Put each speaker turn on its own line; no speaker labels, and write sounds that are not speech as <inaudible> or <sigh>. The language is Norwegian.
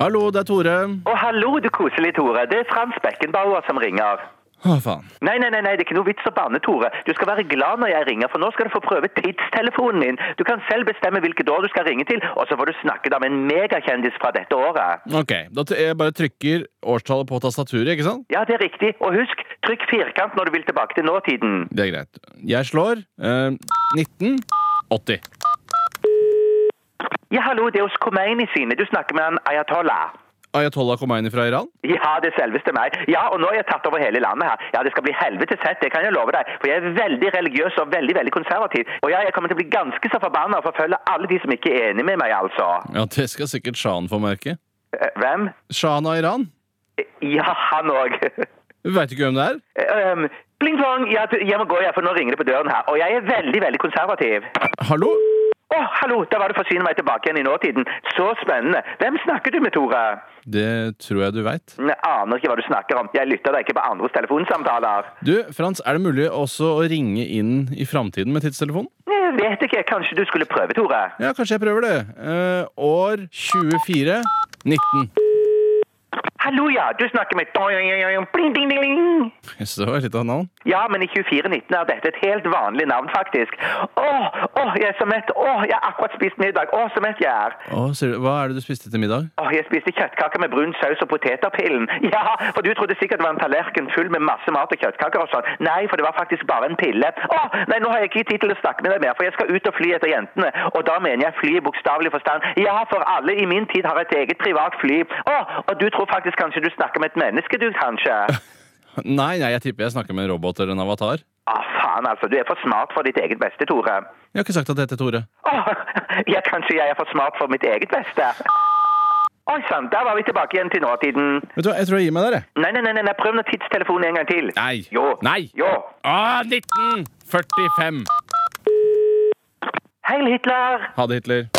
Hallo, det er Tore.
Å, hallo, du koselige Tore. Det er Frans Beckenbauer som ringer.
Å, faen.
Nei, nei, nei, nei, det er ikke noe vits å banne, Tore. Du skal være glad når jeg ringer, for nå skal du få prøve tidstelefonen min. Du kan selv bestemme hvilket år du skal ringe til, og så får du snakke da med en megakjendis fra dette året.
Ok, da t- jeg bare trykker årstallet på tastaturet, ikke sant?
Ja, det er riktig. Og husk, trykk firkant når du vil tilbake til nåtiden.
Det er greit. Jeg slår eh, 1980.
Ja, hallo, det er hos Khomeini sine. Du snakker med han Ayatollah.
Ayatollah Khomeini fra Iran?
Ja, det selveste meg. Ja, og nå er jeg tatt over hele landet her. Ja, det skal bli helvete fett, det kan jeg love deg. For jeg er veldig religiøs og veldig, veldig konservativ. Og ja, jeg kommer til å bli ganske så forbanna og forfølge alle de som ikke er enig med meg, altså.
Ja, det skal sikkert Shahen få merke.
Eh, Hvem?
Shahen av Iran?
Ja, han Eh, òg. <laughs>
Veit ikke hvem det er?
um, pling plong, ja, du, jeg må gå, jeg, for nå ringer det på døren her. Og jeg er veldig, veldig konservativ.
Hallo?
Å, hallo, da var det for å syne meg tilbake igjen i nåtiden. Så spennende. Hvem snakker du med, Tore?
Det tror jeg du veit.
Jeg aner ikke hva du snakker om. Jeg lytter da ikke på andres telefonsamtaler.
Du, Frans, er det mulig også å ringe inn i framtiden med tidstelefonen?
Jeg vet ikke, kanskje du skulle prøve, Tore?
Ja, kanskje jeg prøver det. Eh, år 24 19.
Hallo, ja, du snakker med Pling, ding, ding, ding.
Jeg synes det var litt av et navn.
Ja, men i 2419 er dette et helt vanlig navn, faktisk. Åh, åh, jeg er så mett. Åh, jeg har akkurat spist middag. Åh, så mett jeg er.
Å, sier du, hva er det du spiste til middag?
Åh, jeg spiste kjøttkaker med brun saus og poteterpillen. <laughs> Ja, for du trodde sikkert det var en tallerken full med masse mat og kjøttkaker og sånn. Nei, for det var faktisk bare en pille. Åh, nei, nå har jeg ikke tid til å snakke med deg mer, for jeg skal ut og fly etter jentene. Og da mener jeg fly i bokstavelig forstand. Ja, for alle i min tid har et eget privat fly. Åh, og du tror faktisk kanskje du snakker med et menneske, du, kanskje?
Nei, nei, jeg tipper jeg snakker med en robot eller en avatar.
Åh, faen altså, du er for smart for ditt eget beste, Tore.
Jeg har ikke sagt at det heter Tore.
Åh, ja, kanskje jeg er for smart for mitt eget beste. Oi sann, der var vi tilbake igjen til nåtiden.
Vet du hva, jeg tror jeg gir meg der, jeg.
Nei, nei, nei, nei, nei, prøv nå tidstelefonen en gang til.
Nei.
Jo.
Nei.
Jo.
Ah, 1945.
Heil Hitler.
Ha det, Hitler.